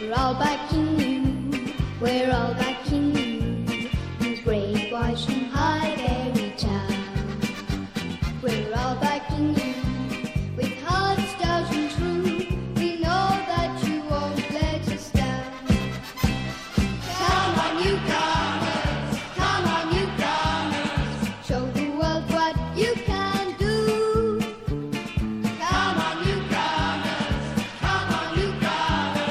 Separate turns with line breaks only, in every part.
We're all backing you. We're all backing you. You brainwash and hide every child. We're all backing you. With hearts dozen true. We know that you won't let us down. Come on, newcomers. Come on, newcomers. Show the world what you can do. Come on, newcomers. Come on, newcomers.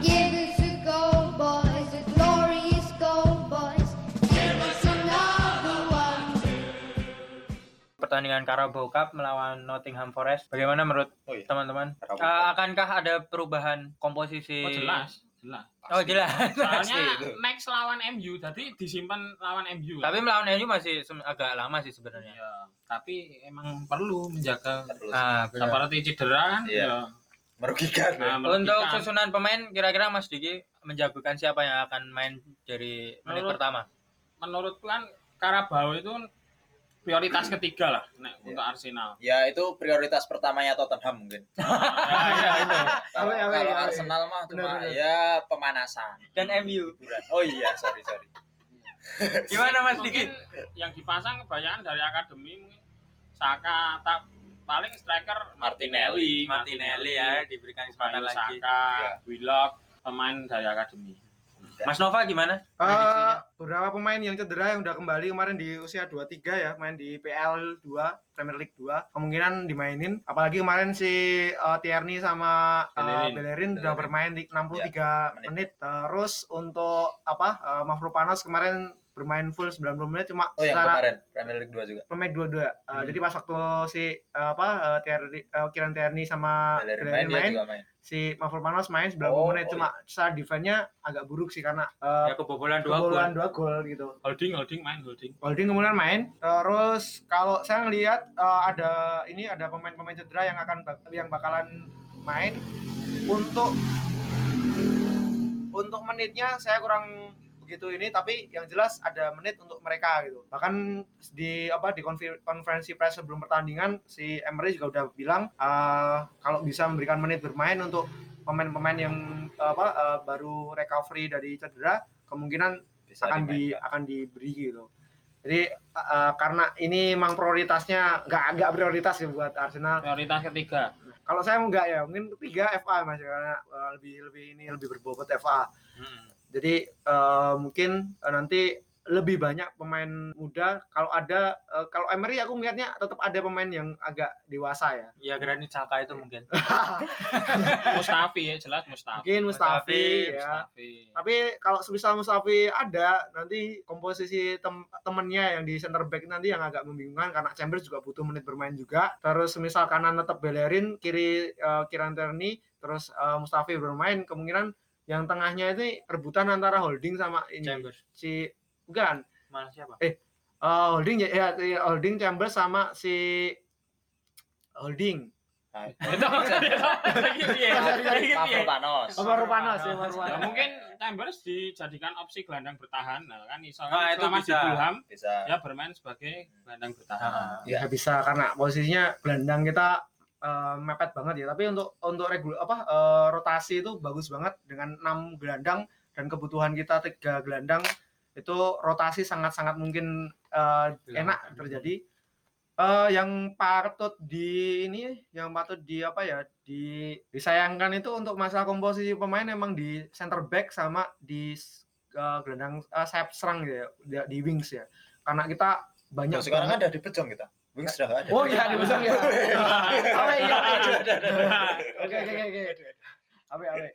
Give us a go, boys, a glorious go, boys. Give us another one.
pertandingan Carabao Cup melawan Nottingham Forest. Bagaimana menurut
Oh iya.
teman-teman? Eh,
Carabao Cup.
akankah ada perubahan komposisi?
Oh jelas, jelas.
Oh Iya. jelas.
itu.
Soalnya Max lawan MU, jadi disimpan lawan MU.
Tapi melawan MU masih sem- agak lama sih
Iya,
sebenarnya.
ya, tapi emang perlu menjaga
Terus
Nah, benar.
seperti cedera kan.
Iya. merugikan ya.
Nah,
Untuk
merugikan.
susunan pemain, kira-kira Mas Diki menjagokan siapa yang akan main dari menit
Menurut-
pertama?
menurutku kan Karabau itu kan prioritas ketiga lah nek,
Iya.
untuk Arsenal.
Ya itu prioritas pertamanya Tottenham mungkin.
Iya,
Nah, ya, itu.
Kalau
Awe, awe,
kalau
awe.
Arsenal mah cuma
Iya, Benar, benar.
ya pemanasan.
Dan MU.
Hiburan. Oh iya, sorry sorry.
Gimana Mas
Mungkin
Diki?
yang dipasang kebanyakan dari akademi mungkin Saka ta- paling striker Martinelli,
Martinelli ya diberikan kesempatan
Bukayo
lagi.
Saka,
Iya.
Willock, pemain dari akademi.
Mas Nova gimana?
Eh, beberapa pemain yang cedera yang udah kembali kemarin di usia 23 ya, main di PL 2, Premier League 2, kemungkinan dimainin. Apalagi kemarin si eh, Tierney sama eh,
Bellerin.
Bellerin, udah
Bellerin. Ya,
bermain di 63
menit.
menit. Terus untuk apa? eh, Mavropanos kemarin bermain full 90 menit cuma
Oh Hmm. yang
secara
kemarin Premier League 2 juga.
pemain dua-dua. Eh, Jadi pas waktu si eh, apa eh, Tierney, eh, Kieran Tierney sama
Bellerin
Bellerin
main, dia
main,
juga main.
si Mavropanos main 90
Oh,
menit
oh,
cuma secara defense-nya agak buruk sih karena eh,
Ya kebobolan dua gol.
kebobolan dua gol gitu.
Holding, holding, main holding.
Holding kemudian main. Terus kalau saya ngelihat eh, ada ini ada pemain-pemain cedera yang akan bak- yang bakalan main untuk untuk menitnya saya kurang begitu ini tapi yang jelas ada menit untuk mereka gitu. Bahkan di apa di konfer- konferensi pers sebelum pertandingan si Emery juga udah bilang eh, kalau bisa memberikan menit bermain untuk pemain-pemain yang apa eh, baru recovery dari cedera kemungkinan
Bisa
akan di
dimainkan.
akan diberi gitu. Jadi uh, karena ini memang prioritasnya nggak nggak prioritas ya buat Arsenal.
Prioritas ketiga.
Kalau saya nggak ya mungkin ketiga FA mas karena uh, lebih lebih ini lebih berbobot FA.
Hmm.
Jadi uh, mungkin uh, nanti lebih banyak pemain muda. Kalau ada uh, kalau Emery aku melihatnya tetap ada pemain yang agak dewasa ya.
Ya Granit Saka itu mungkin.
Mustafi ya, jelas Mustafi.
Mungkin Mustafi,
Mustafi,
ya.
Mustafi.
Tapi kalau semisal Mustafi ada, nanti komposisi tem- temennya yang di center back nanti yang agak membingungkan karena Chambers juga butuh menit bermain juga. Terus semisal kanan tetap Bellerin, kiri eh, Kieran Tierney, terus eh, Mustafi bermain, kemungkinan yang tengahnya itu rebutan antara Holding sama ini
Chambers.
si bukan
Mana siapa?
eh, Holding ya, ya, ya, Holding Chambers sama si Holding.
Nah,
Itu lagi piye?
Iya,
Lagi piye?
Mavropanos.
Oh, Mavropanos, ya, Mavropanos.
Ya, mungkin Chambers dijadikan opsi gelandang bertahan nah, kan misalnya
Ah, itu
selama
bisa.
di Fulham
Bisa.
ya bermain sebagai gelandang bertahan.
Ah,
ya bisa karena posisinya gelandang kita eh, mepet banget ya tapi untuk untuk regul apa eh, rotasi itu bagus banget dengan enam gelandang dan kebutuhan kita tiga gelandang itu rotasi sangat-sangat mungkin eh, enak terjadi Eh, yang patut di ini yang patut di apa ya di disayangkan itu untuk masalah komposisi pemain emang di center back sama di eh, gelandang eh, sayap serang gitu ya di- di wings ya karena kita banyak
Nah, sekarang kan
banget-
udah di Pejong kita. Wings sudah nggak ada.
Oh iya, di besok ya. Awe, iya, awe.
Nah,
Oke, oke, oke, oke. Awe, awe.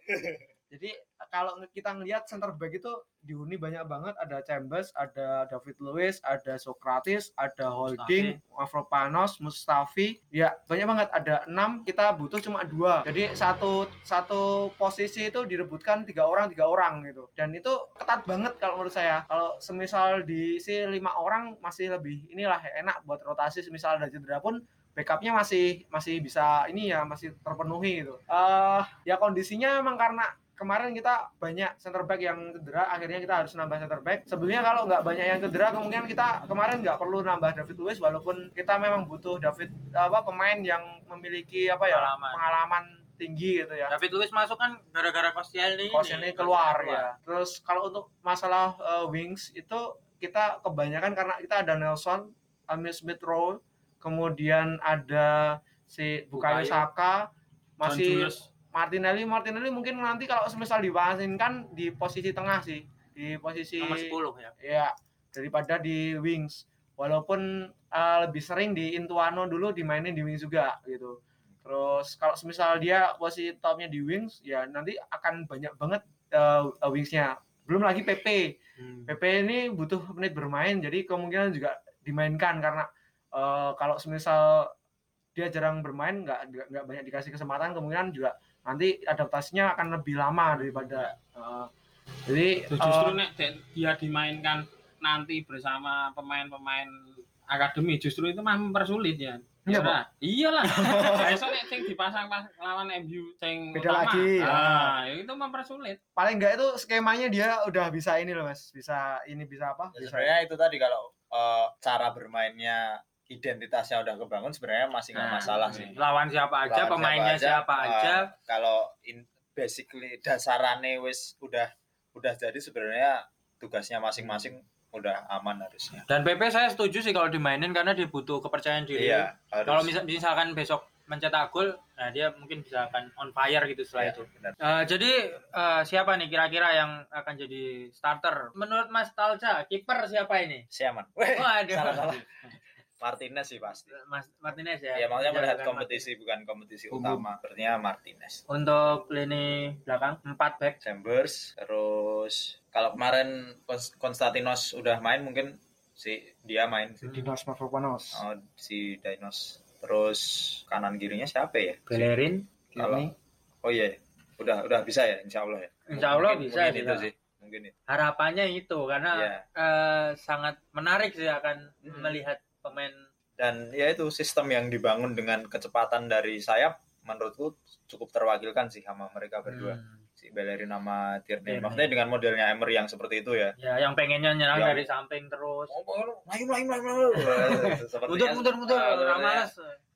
Jadi kalau nge- kita ngelihat center back itu diuni banyak banget ada Chambers, ada David Luiz, ada Socrates, ada Holding, Mavropanos, Mustafi. Ya, banyak banget ada enam kita butuh cuma dua. Jadi satu satu posisi itu direbutkan tiga orang, tiga orang gitu. Dan itu ketat banget kalau menurut saya. Kalau semisal diisi lima orang masih lebih inilah enak buat rotasi semisal ada cedera pun backupnya masih masih bisa ini ya masih terpenuhi gitu. Eh ya kondisinya emang karena kemarin kita banyak center back yang cedera, akhirnya kita harus nambah center back. Sebelumnya kalau nggak banyak yang cedera, kemungkinan kita kemarin nggak perlu nambah David Luiz, walaupun kita memang butuh David apa pemain yang memiliki apa ya
Pengalaman.
pengalaman tinggi gitu ya.
David Luiz masuk kan gara-gara Koscielny ini.
Iya, Coach ini keluar ya. Terus kalau untuk masalah eh, wings itu kita kebanyakan karena kita ada Nelson, Amir Smith Rowe, kemudian ada si
Bukayo.
Bukayo Saka,
John
masih
Julius.
Martinelli, Martinelli mungkin nanti kalau semisal dipasinkan di posisi tengah sih, di posisi
Nomor 10 ya.
ya daripada di wings walaupun uh, lebih sering di Intuano dulu dimainin di wings juga gitu terus kalau semisal dia posisi topnya di wings ya nanti akan banyak banget uh, uh, wingsnya belum lagi PP
Hmm.
PP ini butuh menit bermain jadi kemungkinan juga dimainkan karena uh, kalau semisal dia jarang bermain nggak nggak- nggak banyak dikasih kesempatan kemungkinan juga nanti adaptasinya akan lebih lama daripada uh, jadi
Itu
uh,
justru nek de- dia dimainkan nanti bersama pemain-pemain akademi justru itu mah mempersulit ya.
Iya, Pak.
Pak. Iyalah. Biasa nek sing dipasang pas lawan MU sing
Beda
utama.
lagi, ya.
Ah, ya itu mempersulit.
paling enggak itu skemanya dia udah bisa ini loh mas bisa ini bisa apa
Ya,
bisa
sebenarnya itu tadi kalau eh, cara bermainnya identitasnya udah kebangun sebenarnya masih nggak
Nah,
masalah
oke.
sih.
Lawan siapa aja,
Lawan
pemainnya siapa
eh,
aja.
kalau in- basically dasarane wis udah udah jadi sebenarnya tugasnya masing-masing udah aman harusnya.
Dan PP saya setuju sih kalau dimainin karena dia butuh kepercayaan diri.
Iya, harus.
Kalau misal, misalkan besok mencetak gol, nah dia mungkin bisa akan on fire gitu setelah
Iya,
itu.
benar.
Eh, jadi eh, siapa nih kira-kira yang akan jadi starter? Menurut Mas Talca, kiper siapa ini?
Siaman. Weh,
Waduh.
Eh, salah-salah. Martinez sih pasti.
Mas Martinez ya.
Ya maksudnya
Jangan
melihat
bukan
kompetisi bukan kompetisi
Umum.
utama. Artinya Martinez.
Martinez. Untuk lini belakang 4 back.
Chambers terus kalau kemarin Kons- Konstantinos udah main mungkin si dia main
di Dinos Mavropanos
Oh, si Dinos terus kanan kirinya siapa ya
Bellerin.
Kini.
oh iya udah udah bisa ya Insya Allah ya
Insya Allah
Mungkin-
bisa
mungkin
sih,
itu
Kak.
sih mungkin itu
Harapannya itu karena
Iya.
eh, sangat menarik sih akan
Mhm.
melihat pemain
dan ya itu sistem yang dibangun dengan kecepatan dari sayap menurutku cukup terwakilkan sih sama mereka berdua
Hmm.
si Bellerin sama Tierney
Tierney.
maksudnya dengan modelnya Emery yang seperti itu ya
Ya, yang pengennya nyerang dari
Yang-
samping terus.
Oh, oh, melayu, melayu, melayu, melayu. Sepertinya-
Mundur, mundur, mundur.
Ah,
Orang
sepertinya-
malas.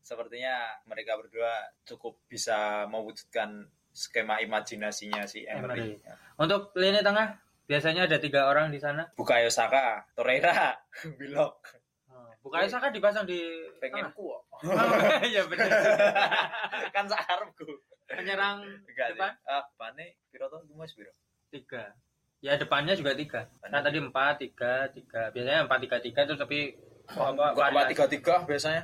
sepertinya mereka berdua cukup bisa mewujudkan skema imajinasinya si Emery. Ya.
Untuk lini tengah biasanya ada tiga orang di sana.
Bukayo Saka, Torreira, Willock.
Bukannya Saka dipasang di
Pengen ku kok.
tengah. Iya benar.
kan sakarepku.
Penyerang
Enggak sih.
Depan?
Ah, pane piro to iku Mas piro?
tiga. Ya depannya juga tiga.
Depannya
Kan tadi empat, tiga, tiga. Biasanya empat, tiga, tiga tuh tapi apa,
Bukan
variasi.
4-3-3 biasanya.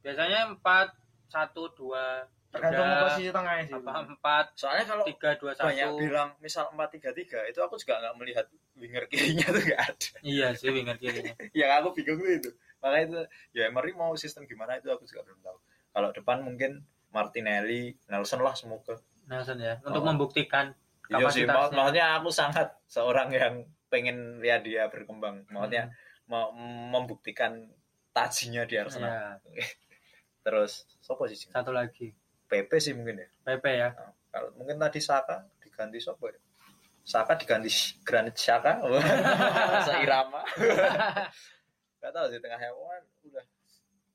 Biasanya empat, satu, dua,
tergantung
tiga,
posisi tengahnya sih
apa empat,
Soalnya kalau
tiga, dua,
banyak
satu.
bilang misal 4-3-3 itu aku juga nggak melihat winger kirinya tuh nggak ada.
Iya sih, ingat kirinya.
yang aku bingung tuh itu makanya itu ya Emery mau sistem gimana itu aku juga belum tahu kalau depan mungkin Martinelli Nelson lah semoga
Nelson ya, untuk
Oh.
membuktikan
iya sih
Kapasitasnya.
mak- maksudnya aku sangat seorang yang pengen lihat dia berkembang
Hmm.
maksudnya mau membuktikan tajinya di Arsenal
ya,
terus siapa sih Jeng?
satu lagi.
PP sih mungkin ya
PP ya.
Nah, kalau mungkin tadi Saka diganti siapa ya Saka diganti Granit Saka seirama Gak tahu sih tengahnya wah, udah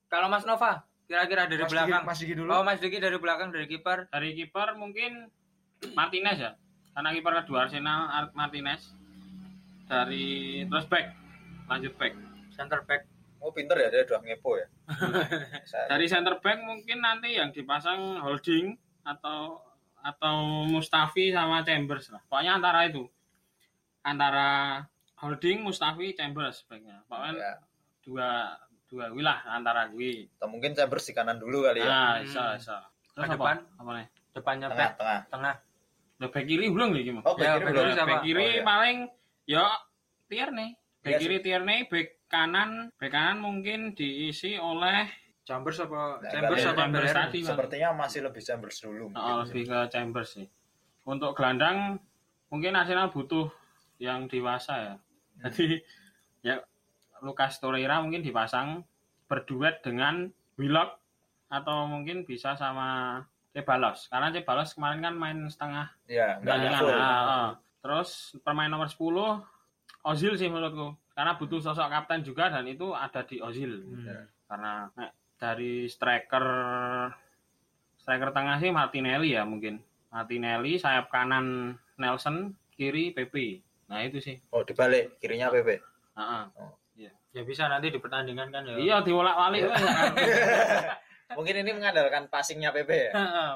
Kalau Mas Nova, kira-kira dari
Mas Diki-
belakang.
Mas Diki dulu
Oh, Mas Diki dari belakang dari kiper.
Dari kiper mungkin Martinez ya. Karena kiper kedua Arsenal Ar- Martinez. Dari terus back lanjut back.
center back
oh pinter ya dia udah ngepo ya Saya-
Dari center back mungkin nanti yang dipasang holding atau atau Mustafi sama Chambers lah. Pokoknya antara itu. Antara holding Mustafi Chambers baiknya. Pokoknya
Ya,
dua dua wilah antara gue.
atau mungkin saya bersih kanan dulu kali ya.
Nah,
Hmm.
bisa bisa.
Terus
Apa?
depan?
apa nih? ya,
depannya
tengah,
back
tengah.
tengah.
Lah, back kiri belum lagi Mas.
Ya,
Oh, back kiri
back
belum.
kiri
ya?
sama-
Back kiri
Oh, iya.
paling ya Tierney. Back
Iya
kiri Tierney, back kanan, back kanan mungkin diisi oleh
Chambers apa
Nah,
Chambers
kalian
apa
ya, Chambers
Bellerin?
tadi. Bang.
Sepertinya masih lebih Chambers dulu. mungkin.
Oh, lebih ke Chambers sih. Untuk gelandang mungkin Arsenal butuh yang dewasa ya. Jadi ya Lucas Torreira mungkin dipasang berduet dengan Willock atau mungkin bisa sama Cebalos. Karena Cebalos kemarin kan main setengah
Iya, enggak ada
pertandingan.
full.
Ah, ah. Terus pemain nomor 10 Ozil sih menurutku. Karena butuh sosok kapten juga dan itu ada di Ozil eh,
Hmm.
karena nek, dari striker Striker tengah sih Martinelli ya mungkin. Martinelli, sayap kanan Nelson, kiri PP. Nah itu sih.
Oh dibalik kirinya PP.
Ah, ah.
Ya bisa nanti di pertandingan kan ya.
Iya diwolak-walik.
Mungkin ini mengandalkan passingnya PP ya.
Heeh,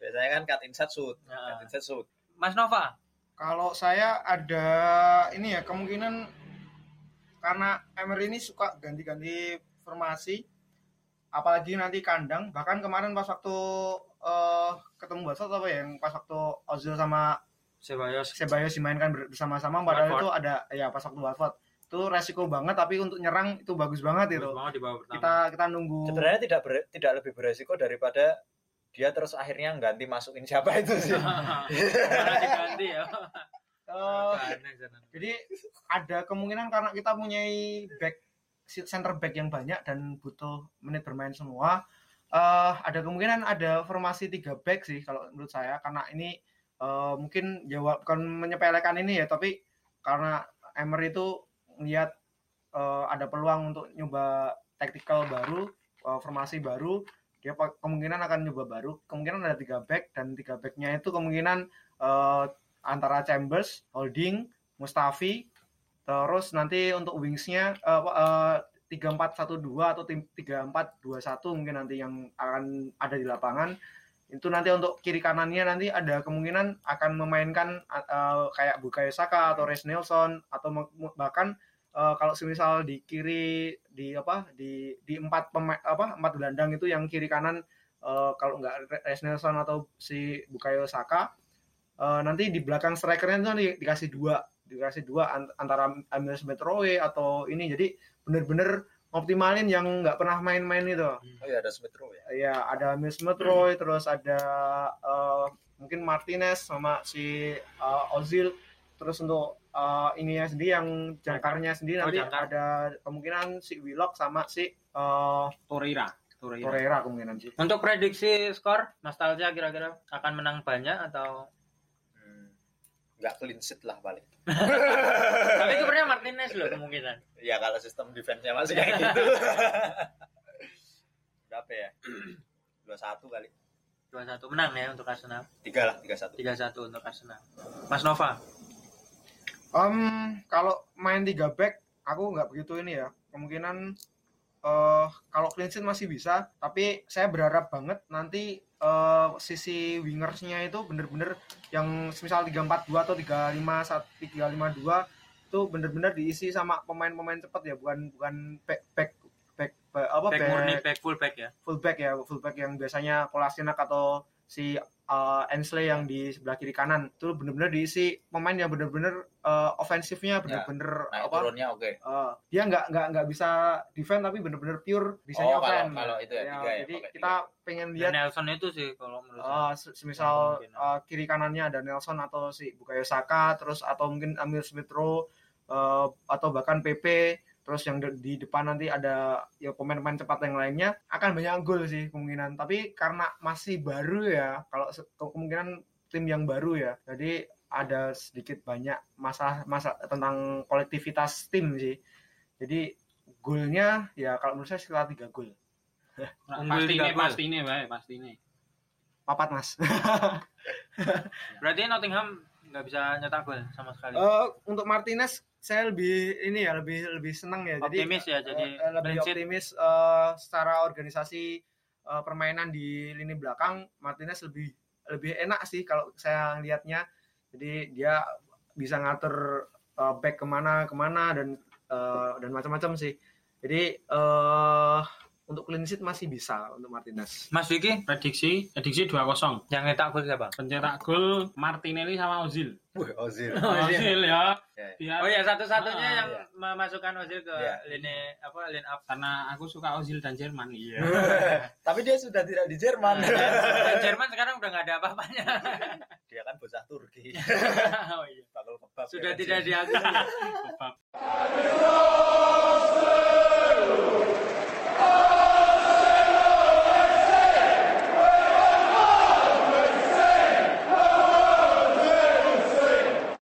Biasanya kan cut inside shoot,
Nah.
cut inside shoot.
Mas Nova.
Kalau saya ada ini ya kemungkinan karena Emery ini suka ganti-ganti formasi, apalagi nanti kandang. Bahkan kemarin pas waktu eh, ketemu Barca atau apa ya, yang pas waktu Ozil sama
Sebayos.
Sebayos dimainkan ber- bersama-sama, padahal
Watford.
itu ada ya pas waktu Watford itu resiko banget, tapi untuk nyerang itu bagus banget gitu. itu.
Bagus banget di bawah pertama.
Kita kita nunggu.
Sebenarnya tidak ber- tidak lebih beresiko daripada dia terus akhirnya ganti masukin siapa itu sih.
Karena diganti ya.
Eh,
Aneh, sana.
Jadi ada kemungkinan karena kita punya back center back yang banyak dan butuh menit bermain semua. eh ada kemungkinan ada formasi tiga back sih kalau menurut saya karena ini eh, mungkin ya wa- bukan menyepelekan ini ya tapi karena Emery itu melihat eh, ada peluang untuk nyoba tactical baru, eh, formasi baru, dia pa- kemungkinan akan nyoba baru. Kemungkinan ada tiga back dan tiga backnya itu kemungkinan eh, antara Chambers, Holding, Mustafi terus nanti untuk wingsnya eh, tiga empat satu dua atau tiga empat dua satu mungkin nanti yang akan ada di lapangan itu nanti untuk kiri kanannya nanti ada kemungkinan akan memainkan eh, kayak Bukayo Saka atau Reece Nelson atau me- bahkan eh, kalau semisal di kiri di apa di di empat pema- apa empat gelandang itu yang kiri kanan eh, kalau nggak Reece Nelson atau si Bukayo Saka eh, nanti di belakang strikernya itu nanti dikasih dua dikasih dua an- antara Amir Smetrowe atau ini jadi bener-bener optimalin yang nggak pernah main-main itu
Oh iya ada Smith Rowe ya.
ya ada Amir Smetrowe
Hmm.
terus ada eh, mungkin Martinez sama si eh, Ozil terus untuk eh, ininya sendiri yang jangkarnya
Oh,
sendiri nanti
jangkar.
ada kemungkinan si Willock sama si eh,
Torreira. Torreira.
Torreira kemungkinan sih
Untuk prediksi skor, Nostalgia kira-kira akan menang banyak atau
Hmm. Nggak clean sheet lah paling.
tapi kipernya Martinez loh kemungkinan.
Ya kalau sistem defense-nya masih kayak gitu. Berapa ya? 21 kali.
2-1 menang ya untuk Arsenal.
3 lah, 31.
3-1 untuk Arsenal. Mas Nova.
Em, kalau main tiga back, aku nggak begitu ini ya. Kemungkinan eh kalau clean sheet masih bisa, tapi saya berharap banget nanti eh, sisi wingersnya itu bener-bener yang misal 342 atau 351 352 itu bener-bener diisi sama pemain-pemain cepat ya, bukan bukan back back back, back- apa
Back
back-
murni, back full back ya.
fullback ya fullback yang biasanya Kolasinac atau si uh, Ainsley yang di sebelah kiri kanan itu bener-bener diisi pemain yang bener-bener uh, ofensifnya bener-bener
Iya. Naik
apa
turunnya oke.
uh, dia nggak nggak nggak bisa defend tapi bener-bener pure bisanya
Oh, kalau-
offense.
kalau itu ya, tiga ya,
jadi
pakai
kita pengen
Dan
lihat
Nelson itu sih kalau menurut saya.
uh, se- semisal
Mungkin.
uh, kiri kanannya ada Nelson atau si Bukayo Saka terus atau mungkin Amir Smith Rowe uh, atau bahkan PP terus yang de- di depan nanti ada ya pemain-pemain cepat yang lainnya akan banyak gol sih kemungkinan tapi karena masih baru ya kalau se- ke- kemungkinan tim yang baru ya jadi ada sedikit banyak masalah masalah tentang kolektivitas tim sih jadi golnya ya kalau menurut saya sekitar tiga gol
Unggul
Pasti
tiga
ini,
gol.
pasti ini, baik, pasti ini.
papat mas
Berarti Nottingham nggak bisa nyetak gol sama sekali.
Eh, untuk Martinez saya lebih ini ya lebih lebih senang ya. Jadi
Optimis ya,
eh,
jadi
eh, lebih
clean sheet.
optimis eh, secara organisasi eh, permainan di lini belakang Martinez lebih lebih enak sih kalau saya lihatnya. Jadi dia bisa ngatur eh, back kemana kemana dan eh, dan macam-macam sih. Jadi eh untuk clean sheet masih bisa untuk Martinez.
Mas Vicky,
Prediksi, prediksi 2-0.
yang nyetak gol siapa?
Pencetak gol Martinelli sama Ozil.
Wih, Ozil.
Ozil ya.
Ya, ya.
Biar-
iya. Oh ya satu-satunya
Ah,
yang
iya.
memasukkan Ozil ke
Iya.
lini apa lini up.
Karena aku suka Ozil dan Jerman. Iya.
Tapi dia sudah tidak di
Dan
Jerman.
Jerman sekarang udah nggak ada apa-apanya.
dia kan bocah Turki.
oh, iya.
Bakal kebab.
Sudah
ya kan
tidak
sih.
dianggap.
Kebab.